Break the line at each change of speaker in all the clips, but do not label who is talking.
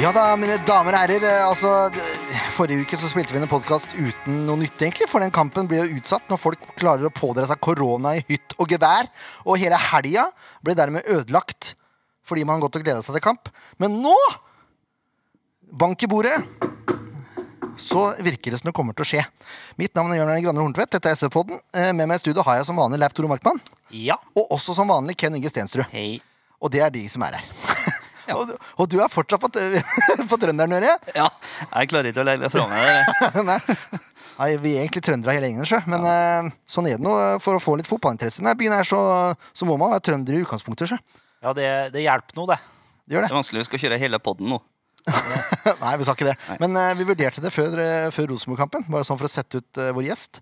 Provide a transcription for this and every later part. Ja da, mine damer og herrer. eh, Altså, d- forrige uke så spilte vi inn en podkast uten noe nytt, egentlig. For den kampen blir jo utsatt når folk klarer å pådra seg korona i hytt og gevær. Og hele helga ble dermed ødelagt fordi man har gått og gleda seg til kamp. Men nå, bank i bordet, så virker det som det kommer til å skje. Mitt navn er Jørn Granner Horntvedt. Dette er SV-podden. Eh, Med meg i studio har jeg som vanlig Leif Tore Markmann.
Ja.
Og også som vanlig Ken Inge Stenstrud.
Hei.
Og det er de som er her. og, og du er fortsatt på, t- på trønderen, hører jeg.
Ja, jeg klarer ikke å legge det fra meg. dere.
Nei. Nei, vi er egentlig trøndere hele gjengen, sjø. Men eh, sånn er det nå. eh, For å få litt fotballinteresse i denne byen her, så, så må man være trønder i utgangspunktet, sjø.
Ja, det, det hjelper noe, det.
Det gjør
Det
det.
er vanskelig, vi skal kjøre hele podden nå.
Nei, vi sa ikke det. Men eh, vi vurderte det før, eh, før Rosenborg-kampen, bare sånn for å sette ut eh, vår gjest.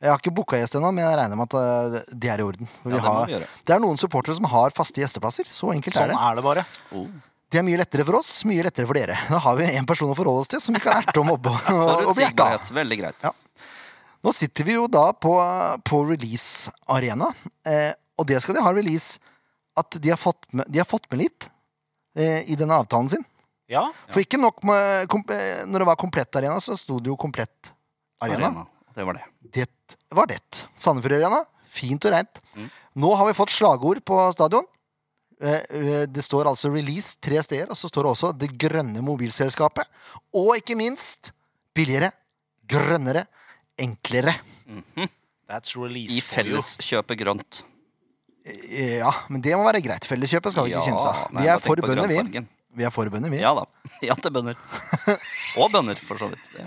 Jeg har ikke booka gjest ennå, men jeg regner med at eh, det er i orden. Vi
Ja, det må
har,
vi gjøre.
det er noen supportere som har faste gjesteplasser. Så enkelt
Sånn
er det.
er det bare.
Oh.
Det er mye lettere for oss, mye lettere for dere. Da har vi en person å forholde oss til som vi kan erte og mobbe og, og, og bli erta av.
Forutsigbarhet. Veldig greit.
Ja. Nå sitter vi jo da på, på Release Arena, eh, og det skal de ha release at de har fått med, de har fått med litt eh, i denne avtalen sin.
Ja.
For ikke nok med kom, eh, Når det var Komplett Arena, så sto det jo Komplett Arena.
Arena. Det var det.
Det var det. Sandefjord Arena, fint og reint. Nå har vi fått slagord på stadion. Eh, eh, Det står altså 'Release' tre steder, og så står det også 'Det grønne mobilselskapet'. Og ikke minst billigere, grønnere, enklere.
That's
I
release for you.
Felleskjøpet grønt.
Eh, Ja, men det må være greit. Felleskjøpet skal vi ikke
Ja,
kimse av.
nei,
Vi er
bare tenk
for
på
bønder, vi.
grønnfargen.
Vi er for bønder, vi. Ja.
Ja da. Ja til bønder. Og bønder, for så vidt. Det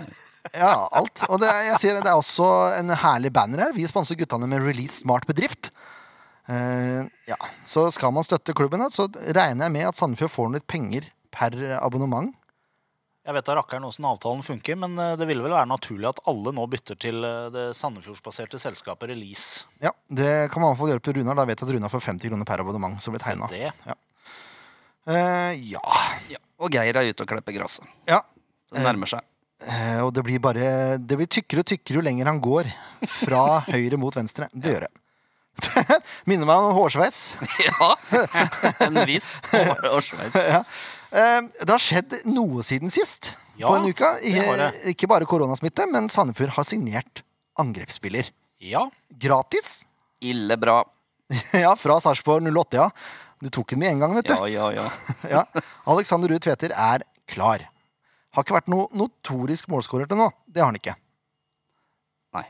er-
alt. Og det, jeg ser, det er også en herlig banner her. Vi sponser guttene med Release Smart Bedrift. Eh, ja, Så skal man støtte klubben, da, så regner jeg med at Sandefjord får litt penger per abonnement.
Jeg vet da rakkeren åssen avtalen funker, men eh, det ville vel være naturlig at alle nå bytter til eh, det Sandefjordsbaserte selskapet Release.
Ja, Det kan man i hvert fall gjøre på Runar. Da vet jeg at Runar får 50 kroner per abonnement. som blir tegnet.
Det.
Eh, ja.
Ja. Og Geir er ute og klipper gresset.
ja.
Det nærmer seg.
Eh, og det blir bare Det blir tykkere og tykkere jo lenger han går fra høyre mot venstre. Det gjør det. Minner meg om hårsveis.
Ja! En viss årsveis.
Ja. Eh, Det har skjedd noe siden sist
Ja,
på en uke.
det har det.
Eh, Ikke bare koronasmitte, men Sandefjord har signert angrepsspiller.
Ja.
Gratis.
Ille bra.
Ja, fra Sarpsborg 08, ja. Du tok den med en gang, vet du.
Ja, ja, ja.
Ja. Alexander Ruud Tveter er klar. Har ikke vært noe notorisk målskårer til nå. Det har han ikke.
Nei.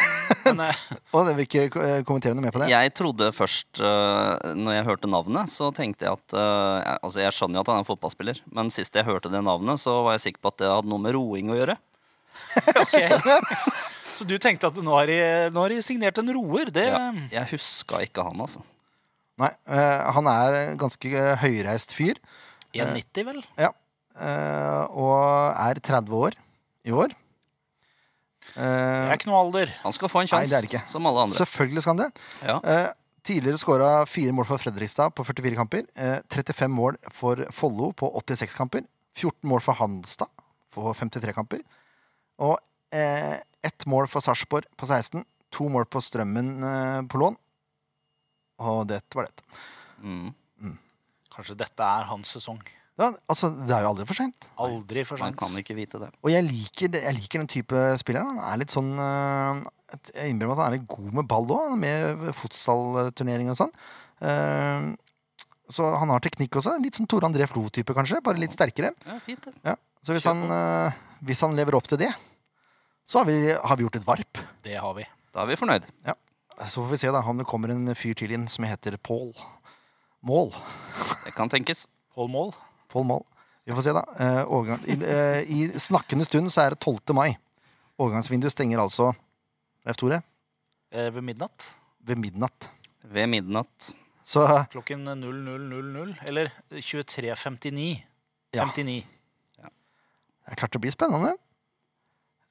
Men eh,
Og det vil ikke eh, kommentere noe mer på det.
Jeg trodde først, øh, når jeg hørte navnet, så tenkte jeg at øh, jeg, Altså, jeg skjønner jo at han er en fotballspiller, men sist jeg hørte det navnet, så var jeg sikker på at det hadde noe med roing å gjøre. sånn,
så du tenkte at nå har de, nå har de signert en roer? Det
Ja, jeg huska ikke han, altså.
Nei, eh, han er en ganske eh, høyreist fyr.
1,90 vel?
Ja. Eh, og er 30 år i år.
Det
Eh,
er ikke noe alder.
Han skal få en
Nei, det
sjanse,
er det ikke.
som alle andre.
selvfølgelig skal han det.
Ja.
Eh, tidligere skåra fire mål for Fredrikstad på 44 kamper. Eh, 35 mål for Follo på 86 kamper. 14 mål for Hamstad på 53 kamper. Og eh, ett mål for Sarpsborg på 16. To mål på Strømmen eh, på lån. Og det var det.
Mm.
Kanskje dette er hans sesong.
Ja, altså, det er jo aldri for seint.
Aldri for
Man
sent.
kan ikke vite det.
Og jeg liker, det- jeg liker den type spiller. Han er litt sånn øh, at Jeg innrømmer at han er litt god med ball òg, med fotballturneringer og sånn. Ehm, så han har teknikk også. Litt som Tore André Flo-type, kanskje. Bare litt sterkere.
Ja, fint det.
Ja. Så hvis han, øh, hvis han lever opp til det, så har vi, har vi gjort et varp.
Det har vi.
Da er vi fornøyd.
Ja. Så får vi se da om det kommer en fyr til inn som heter Pål Mål.
Det kan tenkes.
Hold mål.
Pål Mål. Vi får se, da. Eh, overgang. I, eh, I snakkende stund så er det 12. mai. Overgangsvinduet stenger altså Leif Tore?
Eh, ved midnatt.
ved midnatt.
Ved midnatt.
Så
Klokken 00.00. Eller 23.59.
Ja. det
59.
er klart det blir spennende.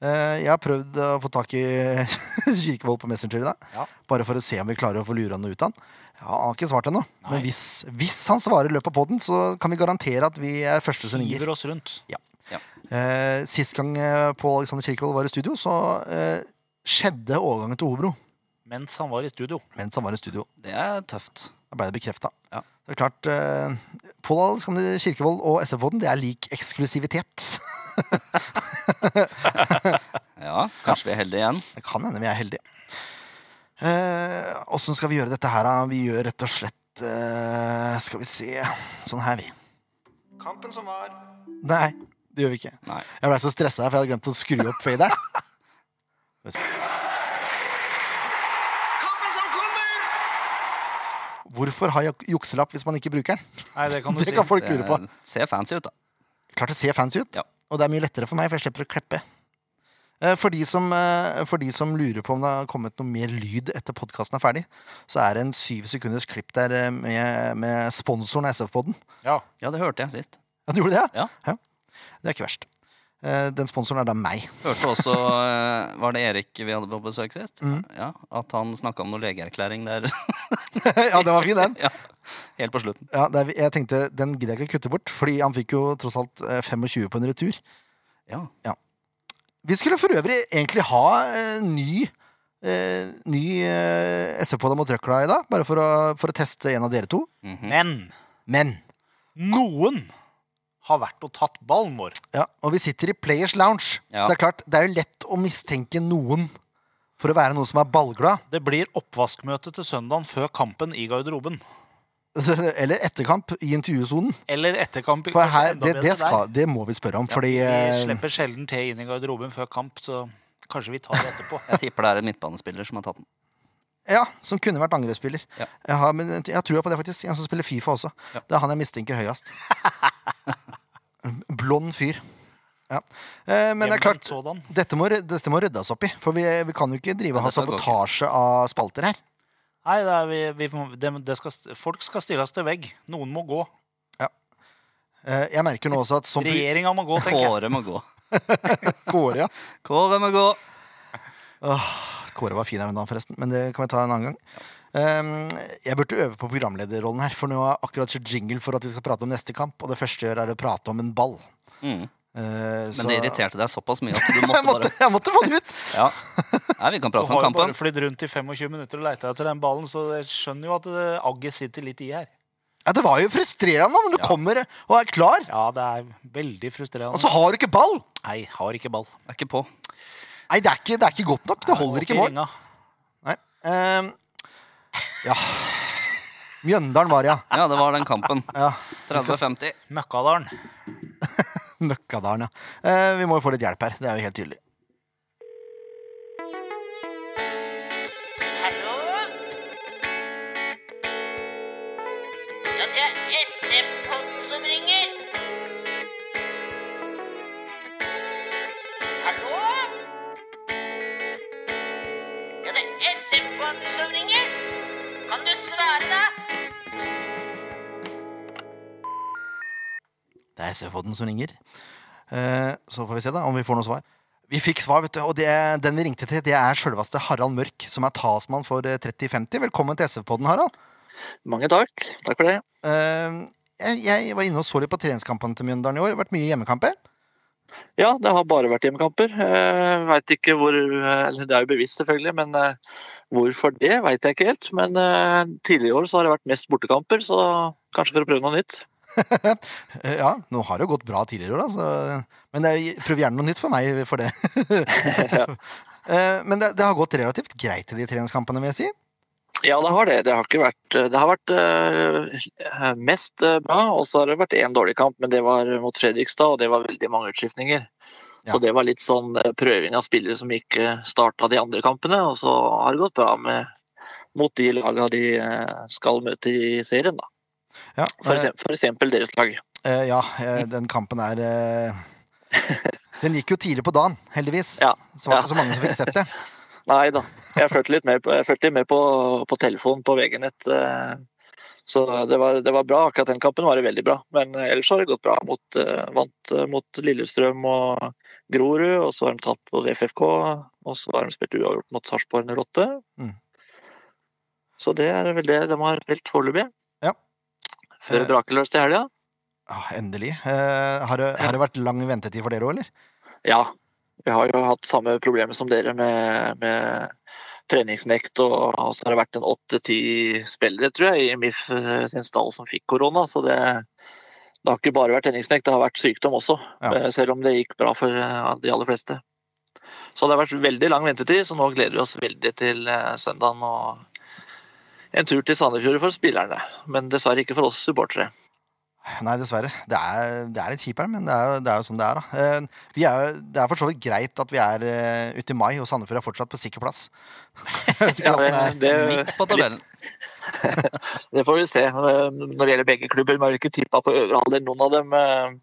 Eh, Jeg har prøvd å få tak i Kirkevold på Messenger i dag.
Ja.
Bare for å se om vi klarer å få lura noe ut av han. Ja, han har ikke svart ennå. Men hvis, hvis han svarer i løpet av podden, så kan vi garantere at vi er første som ringer.
Hiver oss rundt.
Eh, sist gang eh, Pål Alexander Kirkevold var i studio, så eh, skjedde overgangen til Hobro.
Mens han var i studio.
Mens han var i studio.
Det er tøft.
Da ble det bekrefta.
Ja.
Det er klart, eh, Pål Alf Skander Kirkevold og SV-podden, det er lik eksklusivitet.
Ja, kanskje vi er heldige igjen.
Det kan hende vi er heldige. Eh, Åssen skal vi gjøre dette her, da? Vi gjør rett og slett eh, Skal vi se Sånn her, vi.
Kampen som var.
Nei, det gjør vi ikke.
Nei.
Jeg blei så stressa, for jeg hadde glemt å skru opp faderen.
Kampen som kommer!
Hvorfor har jeg jukselapp hvis man ikke bruker den?
Nei, det kan du
Det
si.
kan folk lure på.
Det ser fancy ut, da.
Klart det ser fancy ut,
Ja.
og det er mye lettere for meg, for jeg slipper å kleppe. Eh, For de, som, eh, for de som lurer på om det har kommet noe mer lyd etter podkasten er ferdig, så er det en syv sekunders klipp der eh, med, med sponsoren av SF-podden.
Ja.
Ja, det hørte jeg sist.
Ja, du gjorde det?
Ja.
Det er ikke verst. Eh, Den sponsoren er da meg.
Hørte også eh, Var det Erik vi hadde på besøk sist?
Mm.
Ja, At han snakka om noe legeerklæring der
ja, den var fin, den.
ja, helt på slutten.
Ja, det er, jeg tenkte, Den gidder jeg ikke å kutte bort, fordi han fikk jo tross alt eh, 25 på en retur.
Ja.
Vi skulle for øvrig egentlig ha eh, ny eh, Ny eh, SV på dem mot røkla i dag, bare for å, for å teste en av dere to.
Men
Men
noen har vært og tatt ballen vår.
ja, Og vi sitter i Players Lounge,
Ja.
så det er klart, det er jo lett å mistenke noen for å være noen som er ballglad.
Det blir oppvaskmøte til søndagen før kampen i garderoben.
Eller etterkamp i intervjusonen.
Eller etter kamp.
For
kanskje
her,
enda
det,
bedre
det,
der.
skal, det må vi spørre om, fordi
Vi
eh,
slipper sjelden til inn i garderoben før kamp, så kanskje vi tar det etterpå.
Jeg tipper det er en midtbanespiller som har tatt den.
Ja, som kunne vært angrepsspiller.
Ja.
Jeg, har, men jeg har trua på det, faktisk. En som spiller Fifa også. Det er han jeg mistenker høyest. Blond fyr. Ja. Eh, men det er
Hjemvendt
klart,
sådan.
dette må, rød- dette må ryddes opp i. For vi, vi kan jo ikke drive og ha
dette går ikke.
sabotasje av spalter her.
Nei, det er vi, vi, må- det, det skal, st- folk skal stilles til vegg. Noen må gå.
Eh, jeg merker nå også at som på
Regjeringa må gå, tenker jeg.
Kåre må gå.
Kåre, ja.
Kåre må gå.
Kåre var fin her en dag, forresten. Men det kan vi ta en annen gang. Eh, jeg burde øve på programlederrollen her, for nå har jeg akkurat kjørt jingle for at vi skal prate om neste kamp, og det første jeg gjør, er å prate om en ball.
Mm.
Eh,
Men det irriterte deg såpass mye at du
jeg
måtte
måtte,
bare
jeg måtte få det ut!
Ja, Nei, vi kan
Du
prate om
har jo
kampen.
bare flydd rundt i 25 minutter og leita etter den ballen, så jeg skjønner jo at det- agget sitter litt i her.
Ja, Det var jo frustrerende da, når du
Ja.
kommer og er klar,
Ja, det er veldig frustrerende.
og så har du ikke ball!
Nei, har ikke ball.
Er ikke på.
Nei, det er ikke, det er ikke godt nok. Det holder ikke
Opp i
mål.
ringa.
Nei. Ehm, ja Mjøndalen var, ja.
Ja, det var den kampen.
ja.
30-50.
Møkkadalen.
Møkkadalen, ja. Eh, vi må jo få litt hjelp her. Det er jo helt tydelig.
Hallo? Ja, det er SF-podden som ringer. Hallo? Ja, det er SF-podden som ringer. Kan du svare, da?
Det er SV-podden som ringer. Eh, så får vi se da om vi får noe svar. Vi fikk svar, vet du, og det, den vi ringte til, det er sjølveste Harald Mørk, som er talsmann for eh, 3050. Velkommen til SV-podden, Harald.
Mange takk. Takk for det.
Eh, jeg, jeg var inne og så litt på treningskampene til Mjøndalen i år. Det har vært mye hjemmekamper.
Ja, det har bare vært hjemmekamper. Jeg vet ikke hvor eh, eller Det er jo bevisst, selvfølgelig, men eh, hvorfor det, vet jeg ikke helt. Men eh, tidligere i år så har det vært mest bortekamper, så kanskje for å prøve noe nytt.
Eh, Ja, nå har det jo gått bra tidligere år, da, så- men det er- prøv gjerne noe nytt for meg for det. Eh, men det, det har gått relativt greit i de treningskampene, vil jeg si.
Ja, det har det. Det har, ikke vært, det har vært eh, mest eh, bra, og så har det vært én dårlig kamp, men det var mot Fredrikstad, og det var veldig mange utskiftninger.
Ja.
Så det var litt sånn eh, prøving av spillere som ikke starta de andre kampene, og så har det gått bra med, mot de laga de eh, skal møte i serien, da.
Ja,
For,
eh,
eksempel, for eksempel deres lag.
eh, ja eh, den kampen er eh, Den gikk jo tidlig på dagen, heldigvis.
Ja,
Så var det
ja.
ikke så mange som fikk sett det.
Nei da, jeg fulgte litt med, på- jeg fulgte litt med på, på telefon på VG-nett. eh, Så det var, det var bra. Akkurat den kampen var det veldig bra. Men eh, ellers har det gått bra. Mot, eh, vant eh, mot Lillestrøm og Grorud, og så har de tapt mot FFK. Og så har de spilt uavgjort mot Sarpsborg 08.
Mm.
Så det er vel det de har spilt foreløpig.
Ja.
Før
Eh.
brakeløs til helga.
Åh, Ah, endelig. Eh, har, det, har det vært lang ventetid for dere òg, eller?
Ja, vi har jo hatt samme problemet som dere med, med treningsnekt, og og så har det vært en åtte-ti spillere, tror jeg, i MIF eh, sin stall som fikk korona. Så det, det har ikke bare vært treningsnekt, det har vært sykdom også.
Ja.
eh, Selv om det gikk bra for eh, de aller fleste. Så det har vært veldig lang ventetid, så nå gleder vi oss veldig til eh, søndagen og en tur til Sandefjord for spillerne. Men dessverre ikke for oss supportere.
Nei, dessverre. Det er, det er litt kjipt, her, men det er, jo- det er jo sånn det er. Da. Eh, Vi er jo, det er for så vidt greit at vi er eh, ute i mai, og Sandefjord er fortsatt på sikker plass. Jeg vet ikke hvordan det sånn er.
Eh,
Midt på tabellen.
Det får vi se. eh, Når det gjelder begge klubber, vi har ikke tippa på øvre halvdel noen av dem eh,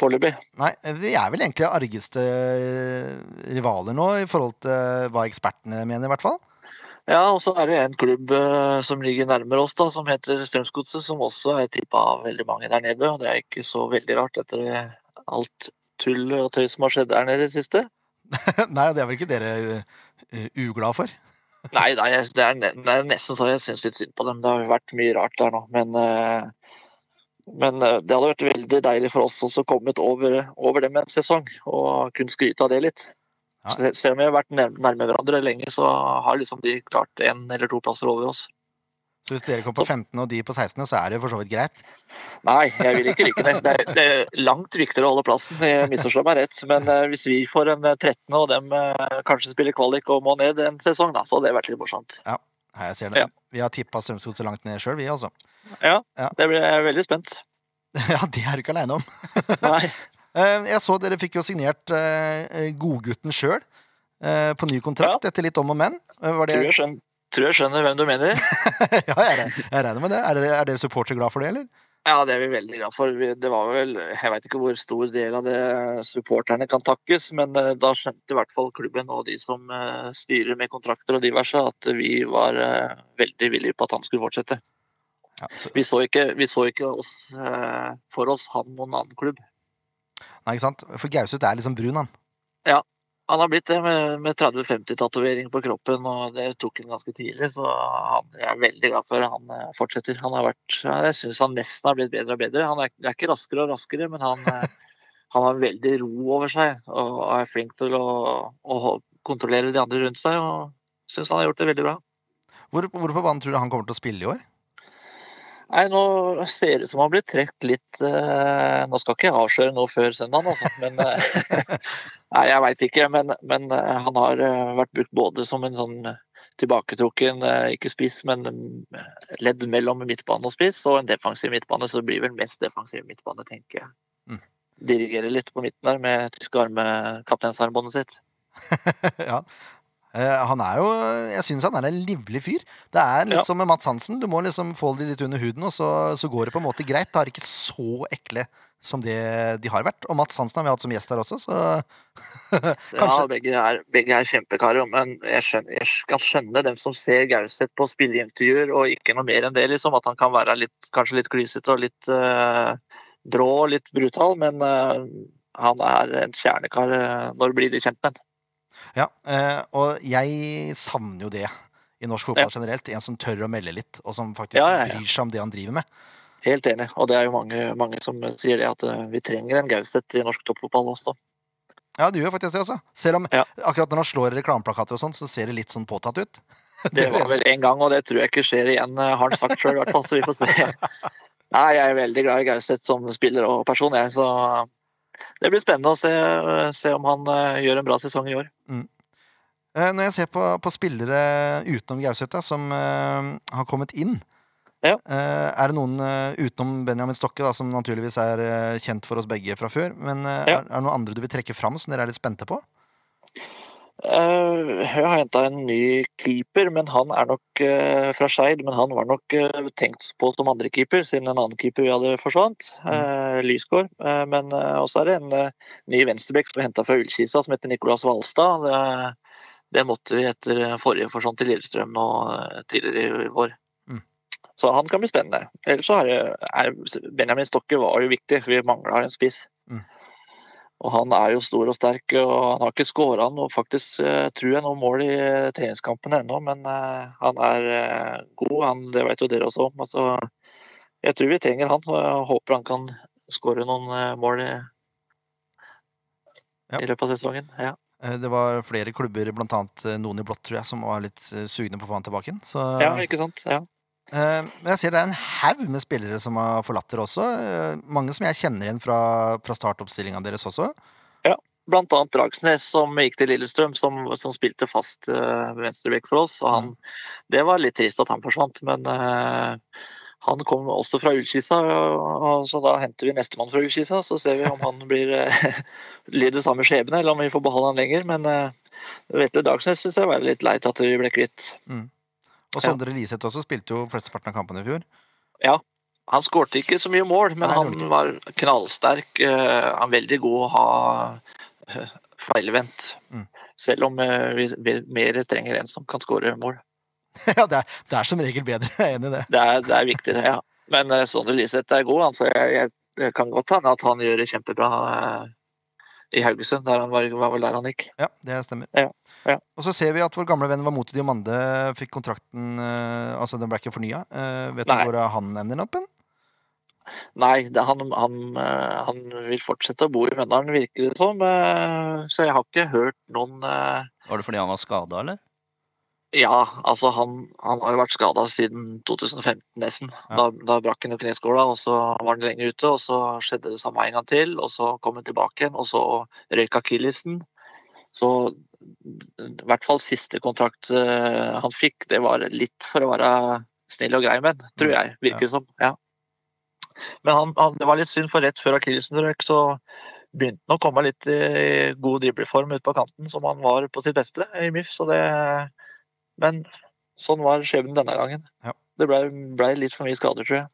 foreløpig.
Nei, vi er vel egentlig argeste eh, rivaler nå, i forhold til eh, hva ekspertene mener, i hvert fall.
Ja, og så er det en klubb eh, som ligger nærmere oss, da, som heter Strømsgodset, som også er tippa av veldig mange der nede. og Det er ikke så veldig rart etter alt tullet og tøy som har skjedd der nede i det siste.
Nei, det er vel ikke dere eh, uglad for?
Nei, nei jeg- det, er, ne- det er nesten så jeg syns litt synd på dem. Det har vært mye rart der nå. Men, eh, men eh, det hadde vært veldig deilig for oss også å komme over, over dem en sesong og kunne skryte av det litt.
Ja.
Se- Selv om vi har vært nær- nærme hverandre lenge, så har liksom de klart én eller to plasser over oss.
Så hvis dere kommer på 15 og de på 16, så er det jo for så vidt greit.
Nei, jeg vil ikke rykke ned. Det er, det er langt viktigere å holde plassen. Jeg misforstår meg rett. Men eh, hvis vi får en eh, 13. og dem eh, kanskje spiller kvalik og må ned en sesong, da, så hadde det vært litt morsomt.
Nei, jeg ser det.
Ja.
Vi har tippa Strømsgodt så langt ned sjøl, vi altså.
Ja,
Ja.
det blir jeg er veldig spent.
Ja, det er du ikke aleine om.
Nei.
Eh, Jeg så dere fikk jo signert eh, Godgutten sjøl på ny kontrakt, etter litt om og men. Eh, Var det,
Tror jeg skjønner, tror jeg skjønner hvem du mener.
ja, jeg, re- jeg regner med det. Er dere, er dere supportere glad for det, eller?
Ja, det er vi veldig glad for. Vi- Det var vel, Jeg veit ikke hvor stor del av det supporterne kan takkes, men eh, da skjønte i hvert fall klubben og de som eh, styrer med kontrakter og diverse, at vi var eh, veldig villige på at han skulle fortsette.
Ja, så,
Vi så ikke, vi så ikke oss, eh, for oss han og en annen klubb.
nei, ikke sant? For Gauseth er liksom brun, han.
Han har blitt det med, med 30-50-tatovering på kroppen, og det tok han ganske tidlig. Så han, jeg er veldig glad for han eh, fortsetter. Han har vært, ja, jeg syns han nesten har blitt bedre og bedre. Han er, er ikke raskere og raskere, men han, eh, han har veldig ro over seg og er flink til å, å ho- kontrollere de andre rundt seg. og Syns han har gjort det veldig bra.
Hvor, hvor på banen tror du han kommer til å spille i år?
Nei, nå ser det ut som han blir trukket litt eh, Nå skal ikke jeg avsløre noe før søndag, altså. Men, eh, nei, jeg veit ikke. Men, men eh, han har eh, vært brukt både som en sånn tilbaketrukken, eh, ikke spiss, men mm, ledd mellom midtbane og spiss, og en defensiv midtbane. Så det blir vel mest defensiv midtbane, tenker jeg.
Mm.
Dirigerer litt på midten der med tyske arme, kapteinsarmbåndet sitt.
ja. Eh, Han er jo Jeg syns han er en livlig fyr. Det er litt
Ja.
som med Mats Hansen. Du må liksom få det litt under huden, og så, så går det på en måte greit. Det er ikke så ekle som det de har vært. Og Mats Hansen har vi hatt som gjest her også, så
Ja,
Kanskje.
begge er, begge er kjempekarer, men jeg, skjønner, jeg kan skjønne dem som ser Gauseth på spilleintervjuer og ikke noe mer enn det, liksom. At han kan være litt, kanskje litt klysete og litt eh, brå og litt brutal, men eh, han er en kjernekar eh, når blir de kjent med han.
Ja, eh, og jeg savner jo det i norsk fotball generelt. En som tør å melde litt, og som faktisk
Ja, ja, ja.
bryr seg om det han driver med.
Helt enig, og det er jo mange, mange som sier det, at eh, vi trenger en Gauseth i norsk toppfotball også.
Ja, du gjør faktisk det også. Selv om
Ja.
akkurat når han slår reklameplakater og sånn, så ser det litt sånn påtatt ut.
Det var vel en gang, og det tror jeg ikke skjer igjen, eh, har han sagt sjøl i hvert fall, så vi får se. Nei, jeg er veldig glad i Gauseth som spiller og person, jeg, så det blir spennende å se, se om han eh, gjør en bra sesong i år.
Eh, Når jeg ser på, på spillere utenom Gauseth da, som eh, har kommet inn
Ja.
eh, Er det noen eh, utenom Benjamin Stokke, da, som naturligvis er eh, kjent for oss begge fra før, men eh,
Ja.
er, er det noen andre du vil trekke fram som dere er litt spente på?
Eh, Jeg har henta en ny keeper, men han er nok eh, fra Skeid. Men han var nok eh, tenkt på som andrekeeper, siden en annen keeper vi hadde forsvant. eh, Lysgård. Eh, Men eh, også er det en eh, ny venstrebekk som er henta fra Ullkisa, som heter Nicolas Valstad. Det, det måtte vi etter eh, forrige forsvant til Lillestrøm nå eh, tidligere i vår.
Mm.
Så han kan bli spennende. Ellers så er, det- er Benjamin Stokke var jo viktig, for vi mangla en spiss. Og han er jo stor og sterk, og han har ikke skåra noe, faktisk eh, tror jeg noe mål i eh, treningskampene ennå, men eh, han er eh, god, han, det vet jo dere også om. Altså, jeg tror vi trenger han, og jeg håper han kan skåre noen eh, mål i,
Ja.
i løpet av sesongen. Ja.
Eh, Eh, Det var flere klubber, blant annet eh, noen i blått, tror jeg, som var litt eh, sugne på å få han tilbake. igjen. Så,
Ja, ikke sant? Ja.
eh, men jeg ser det er en haug med spillere som har forlatt dere også. eh, Mange som jeg kjenner igjen fra, fra startoppstillinga deres også.
Blant annet Dragsnes, som gikk til Lillestrøm, som, som spilte fast uh, venstreback for oss. Og han, Det var litt trist at han forsvant, men eh, han kom også fra Ullkisa, og, og, så da henter vi nestemann fra Ullkisa. Så ser vi om han blir, eh, lider samme skjebne, eller om vi får beholde han lenger. Men eh, Vetle Dragsnes syns jeg var litt leit at vi ble kvitt.
Og
Ja.
Sondre Liseth også spilte jo flesteparten av kampene i fjor.
Ja. Han skårte ikke så mye mål, men
Nei, han
han var knallsterk. eh, Han er veldig god å ha eh, feilvendt.
Mm.
Selv om eh, vi, vi mer trenger en som kan skåre mål.
ja, det er, det er som regel bedre, jeg er enig i det.
Det er, det er viktig, det, ja. Men eh, Sondre Liseth er god. Altså, jeg, jeg, det kan godt hende at han gjør det kjempebra eh, i Haugesund. Der han var, var vel der han gikk.
Ja, det stemmer.
Ja, ja.
Og så ser vi at vår gamle venn Vamoti Diomande fikk kontrakten eh, Altså, den ble ikke fornya. Eh, vet
Nei.
du hvor han ender opp? hen?
Nei, det, han, han, eh, han vil fortsette å bo i Møndalen, virker det som. eh, Så jeg har ikke hørt noen eh,
Var det fordi han var skada, eller?
Ja, altså han, han har jo vært skada siden 2015 nesten. Da,
Ja.
da brakk han jo kneskåla, og så var han lenge ute. Og så skjedde det samme en gang til, og så kom han tilbake igjen, og så røyk akillesen. Så i hvert fall siste kontrakt eh, han fikk, det var litt for å være snill og grei med han, tror jeg. Virker det som. ja. Men han, han, det var litt synd, for rett før akillesen røyk, så begynte han å komme litt i god dribleform ute på kanten, som han var på sitt beste i MIF. så det... Men sånn var skjebnen denne gangen.
Ja.
Det blei ble litt for mye skader, tror jeg.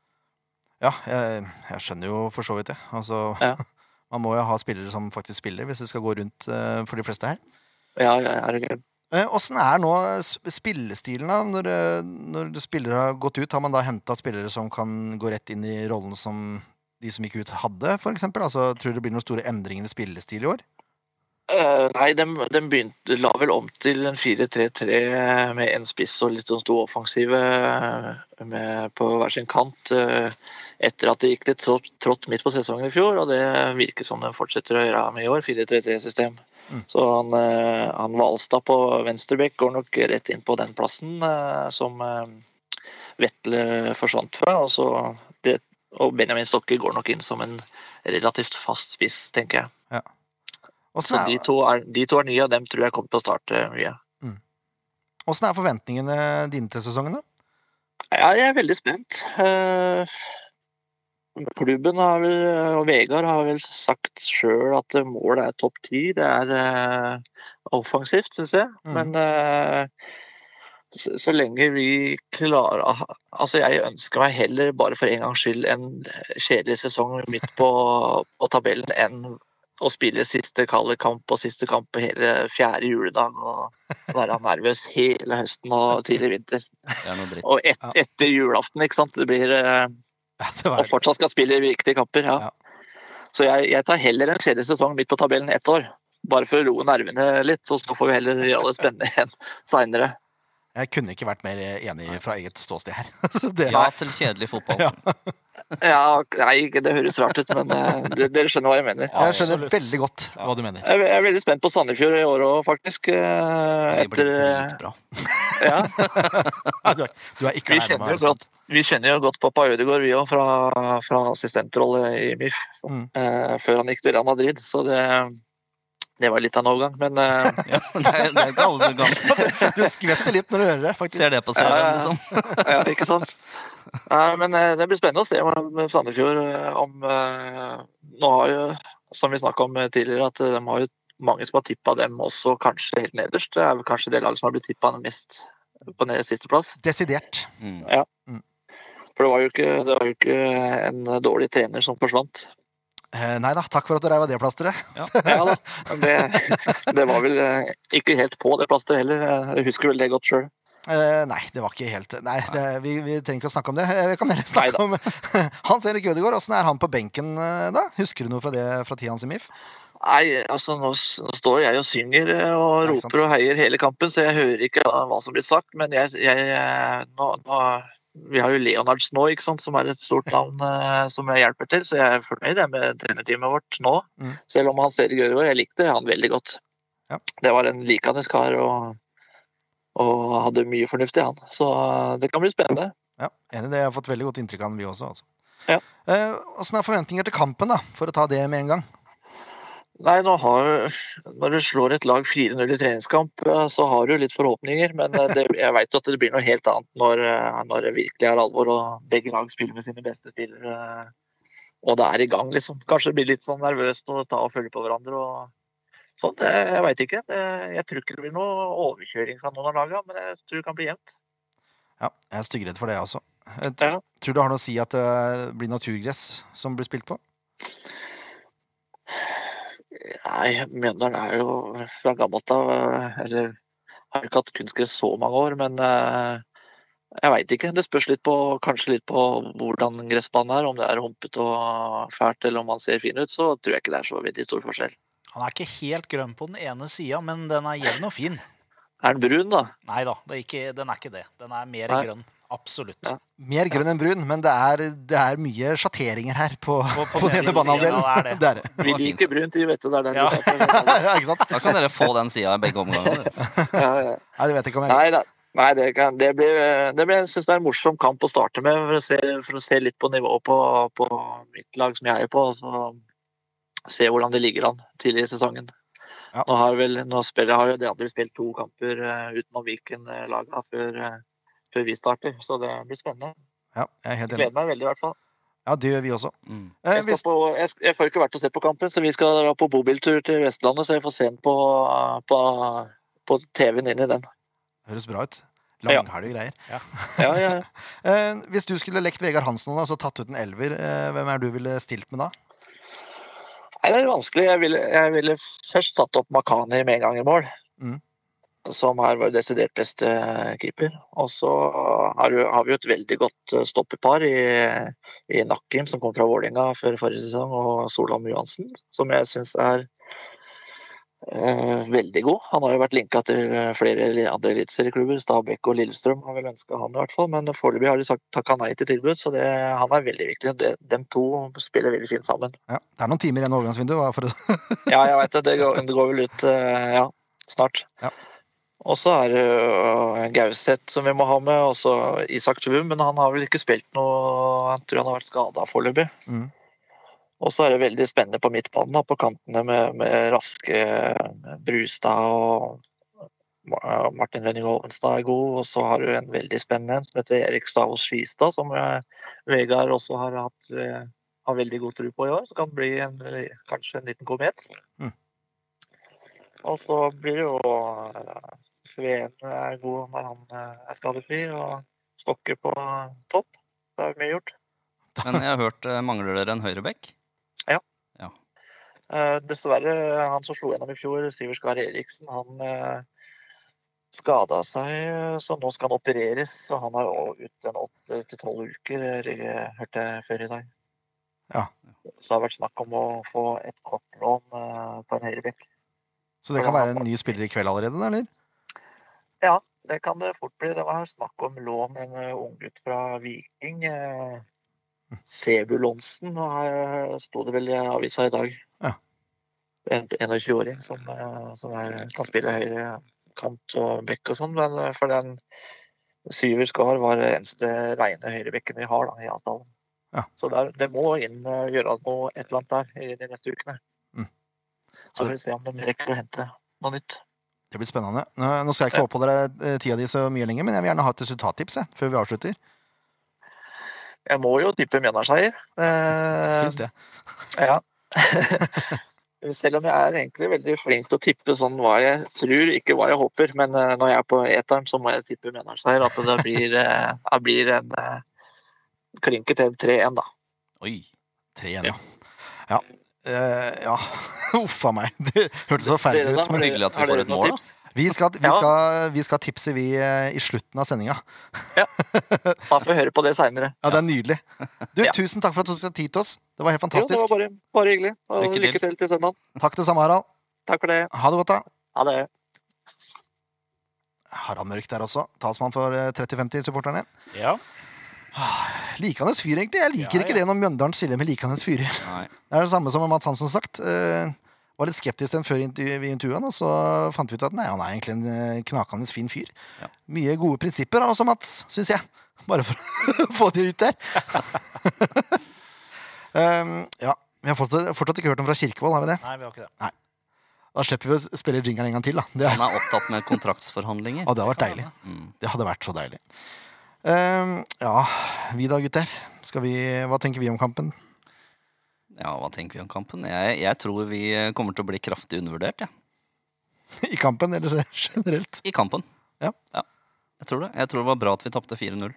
Ja, jeg, jeg skjønner jo for så vidt det. Altså,
Ja.
man må jo ha spillere som faktisk spiller, hvis det skal gå rundt eh, for de fleste her. Eh,
Ja, ja, ja, det er gøy.
Åssen er nå sp- spillestilen, da? Når, eh, når spillere har gått ut, har man da henta spillere som kan gå rett inn i rollen som de som gikk ut, hadde, for eksempel? Altså, tror du det blir noen store endringer i spillestil i år?
Eh, nei, de, begynte, la vel om til en 4-3-3 med en spiss og litt sånn to offensive eh, med, på hver sin kant. eh, etter at det gikk litt trått, trått midt på sesongen i fjor, og det virker som de fortsetter å gjøre med i år. 4-3-3-system.
Mm.
Så han, eh, han Hvalstad på venstrebekk går nok rett inn på den plassen eh, som eh, Vetle forsvant fra. Og, så det, og Benjamin Stokke går nok inn som en relativt fast spiss, tenker jeg.
Åssen
Så Altså, de
er,
to, er, de to er nye, og dem tror jeg kommer til å starte mye.
åssen er forventningene dine til sesongen, da?
Ja, jeg er veldig spent. Eh, Klubben har vel, og Vegard har vel sagt sjøl at målet er topp ti. Det er eh, offensivt, syns jeg.
Mhm.
Men eh, så, så lenge vi klarer Altså, jeg ønsker meg heller bare for en gangs skyld en eh, kjedelig sesong midt på, på tabellen enn å spille siste kalde kamp og siste kamp på hele fjerde juledag og være nervøs hele høsten og tidlig vinter.
Det er noe dritt.
Og et,
Ja.
etter julaften, ikke sant. Det blir, eh,
Ja, det
og
var,
fortsatt skal spille viktige kamper. Ja.
Ja.
Så jeg, jeg tar heller en kjedelig sesong midt på tabellen ett år. Bare for å roe nervene litt, så så får vi heller gjøre det spennende igjen seinere.
jeg kunne ikke vært mer eh, enig fra eget ståsted her. Så det,
Ja til kjedelig fotball.
Ja.
Ja, nei, ikke- det høres rart ut, men eh, de- dere skjønner hva jeg mener.
jeg skjønner
Absolutt.
veldig godt
Ja.
hva du mener.
Jeg er- jeg er veldig spent på Sandefjord i år òg, faktisk. eh,
Det blir
Etter,
dritbra.
eh, ja,
Ja, Du er, du er ikke
vi,
aleine
kjenner
med
jo godt, vi kjenner jo godt pappa Ødegaard, vi òg, fra, fra assistentrolle i MIF.
Mm.
eh, Før han gikk til Real Madrid, så det, det var litt av en overgang. Men eh,
Ja, det, er, det er ikke alle som kan
meg. Du skvetter litt når du hører det, faktisk.
ser det på serien,
Ja, ja, ja.
liksom.
ja, ikke sant? Nei, men eh, det blir spennende å se om- med Sandefjord eh, om eh, Nå har jo, som vi snakka om eh, tidligere, at eh, de har jo mange som har tippa dem også kanskje helt nederst. Det er vel kanskje det laget som har blitt tippa mest på ned sisteplass.
Desidert.
Mm.
For det var jo ikke, det var jo ikke en dårlig trener som forsvant.
Eh, nei da, takk for at du reiv av det plasteret.
Ja da, men det, det var vel eh, ikke helt på det plasteret heller. Jeg husker vel det godt sjøl.
Eh, nei, det var ikke helt Nei, det, vi, vi trenger ikke å snakke om det. Eh, Vi kan heller snakke om Hans Erik Ødegaard. Åssen er han på benken eh, da? Husker du noe fra det fra tida hans i MIF?
Nei, altså nå, s- nå står jeg og synger eh, og
Ja, ikke sant.
roper og heier hele kampen, så jeg hører ikke hva hva som blir sagt. Men jeg, jeg eh, nå, nå, Vi har jo Leonards nå, ikke sant, som er et stort navn eh, som jeg hjelper til. Så jeg er fornøyd jeg, med trenerteamet vårt nå.
Mm.
Selv om han ser Gørgaard, jeg likte han veldig godt.
Ja.
Det var en likandes kar og, og hadde mye fornuftig, han. Så eh, det kan bli spennende.
Ja, enig i det. Jeg har fått veldig godt inntrykk av den, vi også. Altså.
Ja.
Eh, Åssen er forventninger til kampen, da? For å ta det med en gang.
Nei, nå har, når du slår et lag 4-0 i treningskamp, eh, så har du litt forhåpninger. Men eh, det, jeg veit at det blir noe helt annet når, eh, når det virkelig er alvor og begge lag spiller med sine beste spillere. eh, Og det er i gang, liksom. Kanskje det blir litt sånn nervøst å ta og følge på hverandre og sånt. Det- Jeg veit ikke. Det, jeg tror ikke det blir noe overkjøring fra noen av lagene, men jeg tror det kan bli jevnt.
Ja, jeg er styggredd for det, jeg også. Jeg t-
Ja.
Tror det har noe å si at det blir naturgress som blir spilt på?
Nei, Mjøndalen er jo fra gammelt av eh, Eller har ikke hatt kunstgress så mange år, men eh, jeg veit ikke. Det spørs litt på, kanskje litt på hvordan gressbanen er. Om det er humpete og fælt, eller om man ser fin ut, så tror jeg ikke det er så veldig stor forskjell.
Han er ikke helt grønn på den ene sida, men den er jevn og fin.
Er den brun, da?
Nei da, det er ikke, den er ikke det. Den er mer
Nei.
grønn. Absolutt.
Ja.
Mer grønn enn brun, men det er, det er mye sjatteringer her på, på,
den
denne
ene siden,
banehalvdelen.
ja, det er det.
Det er det.
Vi
var fint.
liker brunt, vi vet jo det er den
Ja.
vi tar.
ja, ikke sant?
Da kan dere få den sida i begge omganger. dere.
Ja, ja.
Nei, det vet jeg ikke om jeg vil.
Nei, da. Nei, det, kan, det blir, det blir, jeg synes det er en morsom kamp å starte med, for å se, for å se litt på nivået på, på mitt lag som jeg er på. Og så se hvordan det ligger an tidlig i sesongen.
Ja.
Nå har, vel, nå spiller, har jo de andre spilt to kamper eh, utenom Viken-laga før, eh, før vi starter, så det blir spennende.
Ja, jeg er helt
Jeg
enig.
gleder meg veldig, i hvert fall.
Ja, det gjør vi også.
Mm.
Eh,
Jeg, skal
hvis,
på, jeg, sk- jeg får ikke vært og se på kampen, så vi skal dra på bobiltur til Vestlandet, så jeg får se den på, på, på TV-en inn i den.
høres bra ut.
Ja.
Langhelg og greier.
Ja, ja.
Eh, hvis du skulle lekt Vegard Hansen og altså tatt ut en elver, eh, hvem er du ville stilt med da?
Nei, det er vanskelig. Jeg ville, jeg ville først satt opp Makani med en gang i mål.
Mm.
Som er vår desidert beste keeper. Og så har, jo- har vi jo et veldig godt eh, stopperpar i, i Nakim, som kom fra Vålerenga før forrige sesong, og Solholm Johansen, som jeg syns er eh, veldig god. Han har jo vært linka til eh, flere li- andre eliteserieklubber. Stabæk og Lillestrøm har vel ønska han, i hvert fall. Men foreløpig har de sagt takka nei til tilbud, så det, han er veldig viktig. De, dem to spiller veldig fint sammen.
Ja, det er noen timer igjen av overgangsvinduet. hva For å...
Ja, jeg veit det. Det går, det går vel ut eh, ja, snart.
Ja.
Og så er det jo eh, Gauseth som vi må ha med, og så Isak Tvum. Men han har vel ikke spilt noe Jeg tror han har vært skada foreløpig.
Mm.
Og så er det veldig spennende på midtbanen, da, på kantene med, med raske Brustad og Ma- eh, Martin Rønning Ovenstad er god. Og så har du en veldig spennende en som heter Erik Stavås Skistad, som eh, Vegard også har hatt eh, har veldig god tro på i år. Så kan det bli en, eh, kanskje en liten komet.
Mm.
Og så blir det jo eh, Sveen er god når han eh, er skadefri, og Stokke på topp. Det er mye gjort.
Men jeg har hørt eh, mangler dere en høyrebekk?
Eh, Dessverre, han som slo gjennom i fjor, Sivert Skar Eriksen, han eh, skada seg, eh, så nå skal han opereres. Så han er å- ut en åtte til tolv uker, eh, hørte jeg før i dag.
Ja.
Så det har vært snakk om å få et kortlån eh, på en høyrebekk.
Så det kan være en ny spiller i kveld allerede, da, eller?
Ja, det kan det fort bli. Det var snakk om lån en eh, unggutt fra Viking. eh, Sebulonsen eh, sto det vel i avisa i dag.
Ja.
En 21-åring som, eh, som er, kan spille høyre kant og bekk og sånn, men eh, for den Syver Skar var det eneste reine høyrebekken vi har da, i Asdalen.
Ja.
Så der, det må inn eh, gjøre noe, et eller annet der i de neste ukene.
Mm.
Så får vi se om de rekker å hente noe nytt.
Det blir spennende. Nå nå skal jeg ikke oppholde deg eh, tida di så mye lenger, men jeg vil gjerne ha et resultattips jeg, før vi avslutter.
Jeg må jo tippe Mjøndalen-seier. Eh,
Syns det.
Ja. Selv om jeg er egentlig veldig flink til å tippe sånn hva jeg tror, ikke hva jeg håper. Men eh, når jeg er på eteren, så må jeg tippe Mjøndalen-seier. At det blir, eh, det blir en eh, klinker til 3-1, da.
Oi.
Tre igjen, ja. Ja. Eh, ja. Uff a meg. Det hørtes så forferdelig
Dere, da?
ut. Men
Har dere-
hyggelig at vi
har
får
dere
et
noen
mål, da.
tips?
vi skal, vi
Ja.
skal, vi skal tipse, vi, eh, i slutten av sendinga.
Da får vi høre på det seinere.
Ja, det er nydelig. Du,
Ja.
tusen takk for at du tok deg tid til oss. Det var helt
Jo, det var
fantastisk.
bare, bare hyggelig. Og
Lykke til.
lykke til til søndag.
Takk det samme, Harald.
Takk for det.
Ha det godt, da.
Ha det.
Harald Mørk der også. Talsmann for eh, 3050-supporterne.
Ja.
Likandes fyr, egentlig. Jeg liker
Ja,
ikke
ja.
det når Mjøndalen stiller med likandes fyrer.
Nei.
Det er det samme som Mats Hansson har sagt. eh, var litt skeptisk til den før intervju- vi intervjua han, og så fant vi ut at nei, han er egentlig en eh, knakende fin fyr.
Ja.
Mye gode prinsipper også, Mats, syns jeg. Bare for å få det ut der. um, ja. Vi har fortsatt, fortsatt ikke hørt noe fra Kirkevold, har vi det?
Nei, vi har ikke det.
Da slipper vi å spille jingeren en gang til, da. Det,
Han er opptatt med kontraktsforhandlinger.
ja, det hadde vært deilig.
Mm.
Det hadde vært så deilig. Ehm, ja, vi da, gutter. Skal vi, hva tenker vi om kampen?
Ja, hva tenker vi om kampen? Jeg, jeg tror vi eh, kommer til å bli kraftig undervurdert, jeg.
I kampen, eller så- generelt?
I kampen.
Ja.
Jeg tror det. Jeg tror det var bra at vi tapte 4-0.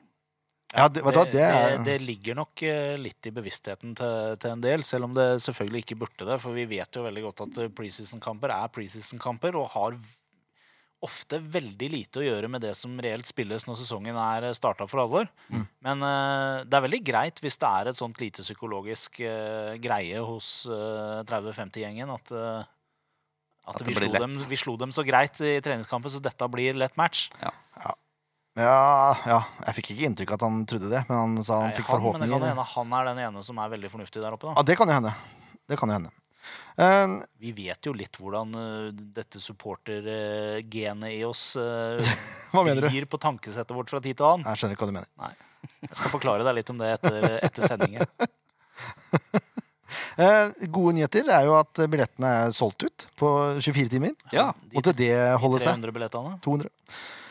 Ja, det, vet du hva, det
det,
er
det ligger nok eh, litt i bevisstheten til, til en del, selv om det selvfølgelig ikke burde det. For vi vet jo veldig godt at eh, preseason-kamper er preseason-kamper og har v- ofte veldig lite å gjøre med det som reelt spilles når sesongen er starta for alvor.
Mm.
Men eh, det er veldig greit hvis det er et sånt lite psykologisk eh, greie hos eh, 30-50-gjengen at eh, at,
At
vi,
det blir
slo dem, vi slo dem så greit i treningskampen, så dette blir lett match.
ja, ja, jeg fikk ikke inntrykk av at han trodde det, men han sa han
Nei,
fikk
han, men det kan jo
forhåpninger.
hende han er den ene som er veldig fornuftig der oppe. da.
Ja, det kan jo hende. Det kan jo hende. Ehm,
Vi vet jo litt hvordan ø, dette supportergenet i oss uh,
hva mener du?
gir på tankesettet vårt fra tid til annen.
Jeg skjønner ikke hva du mener.
Jeg skal forklare deg litt om det etter, etter sendingen.
Eh, gode nyheter er jo at billettene er solgt ut på 24 timer.
Ja.
De
Måtte det holde seg?
300 billettene.
200.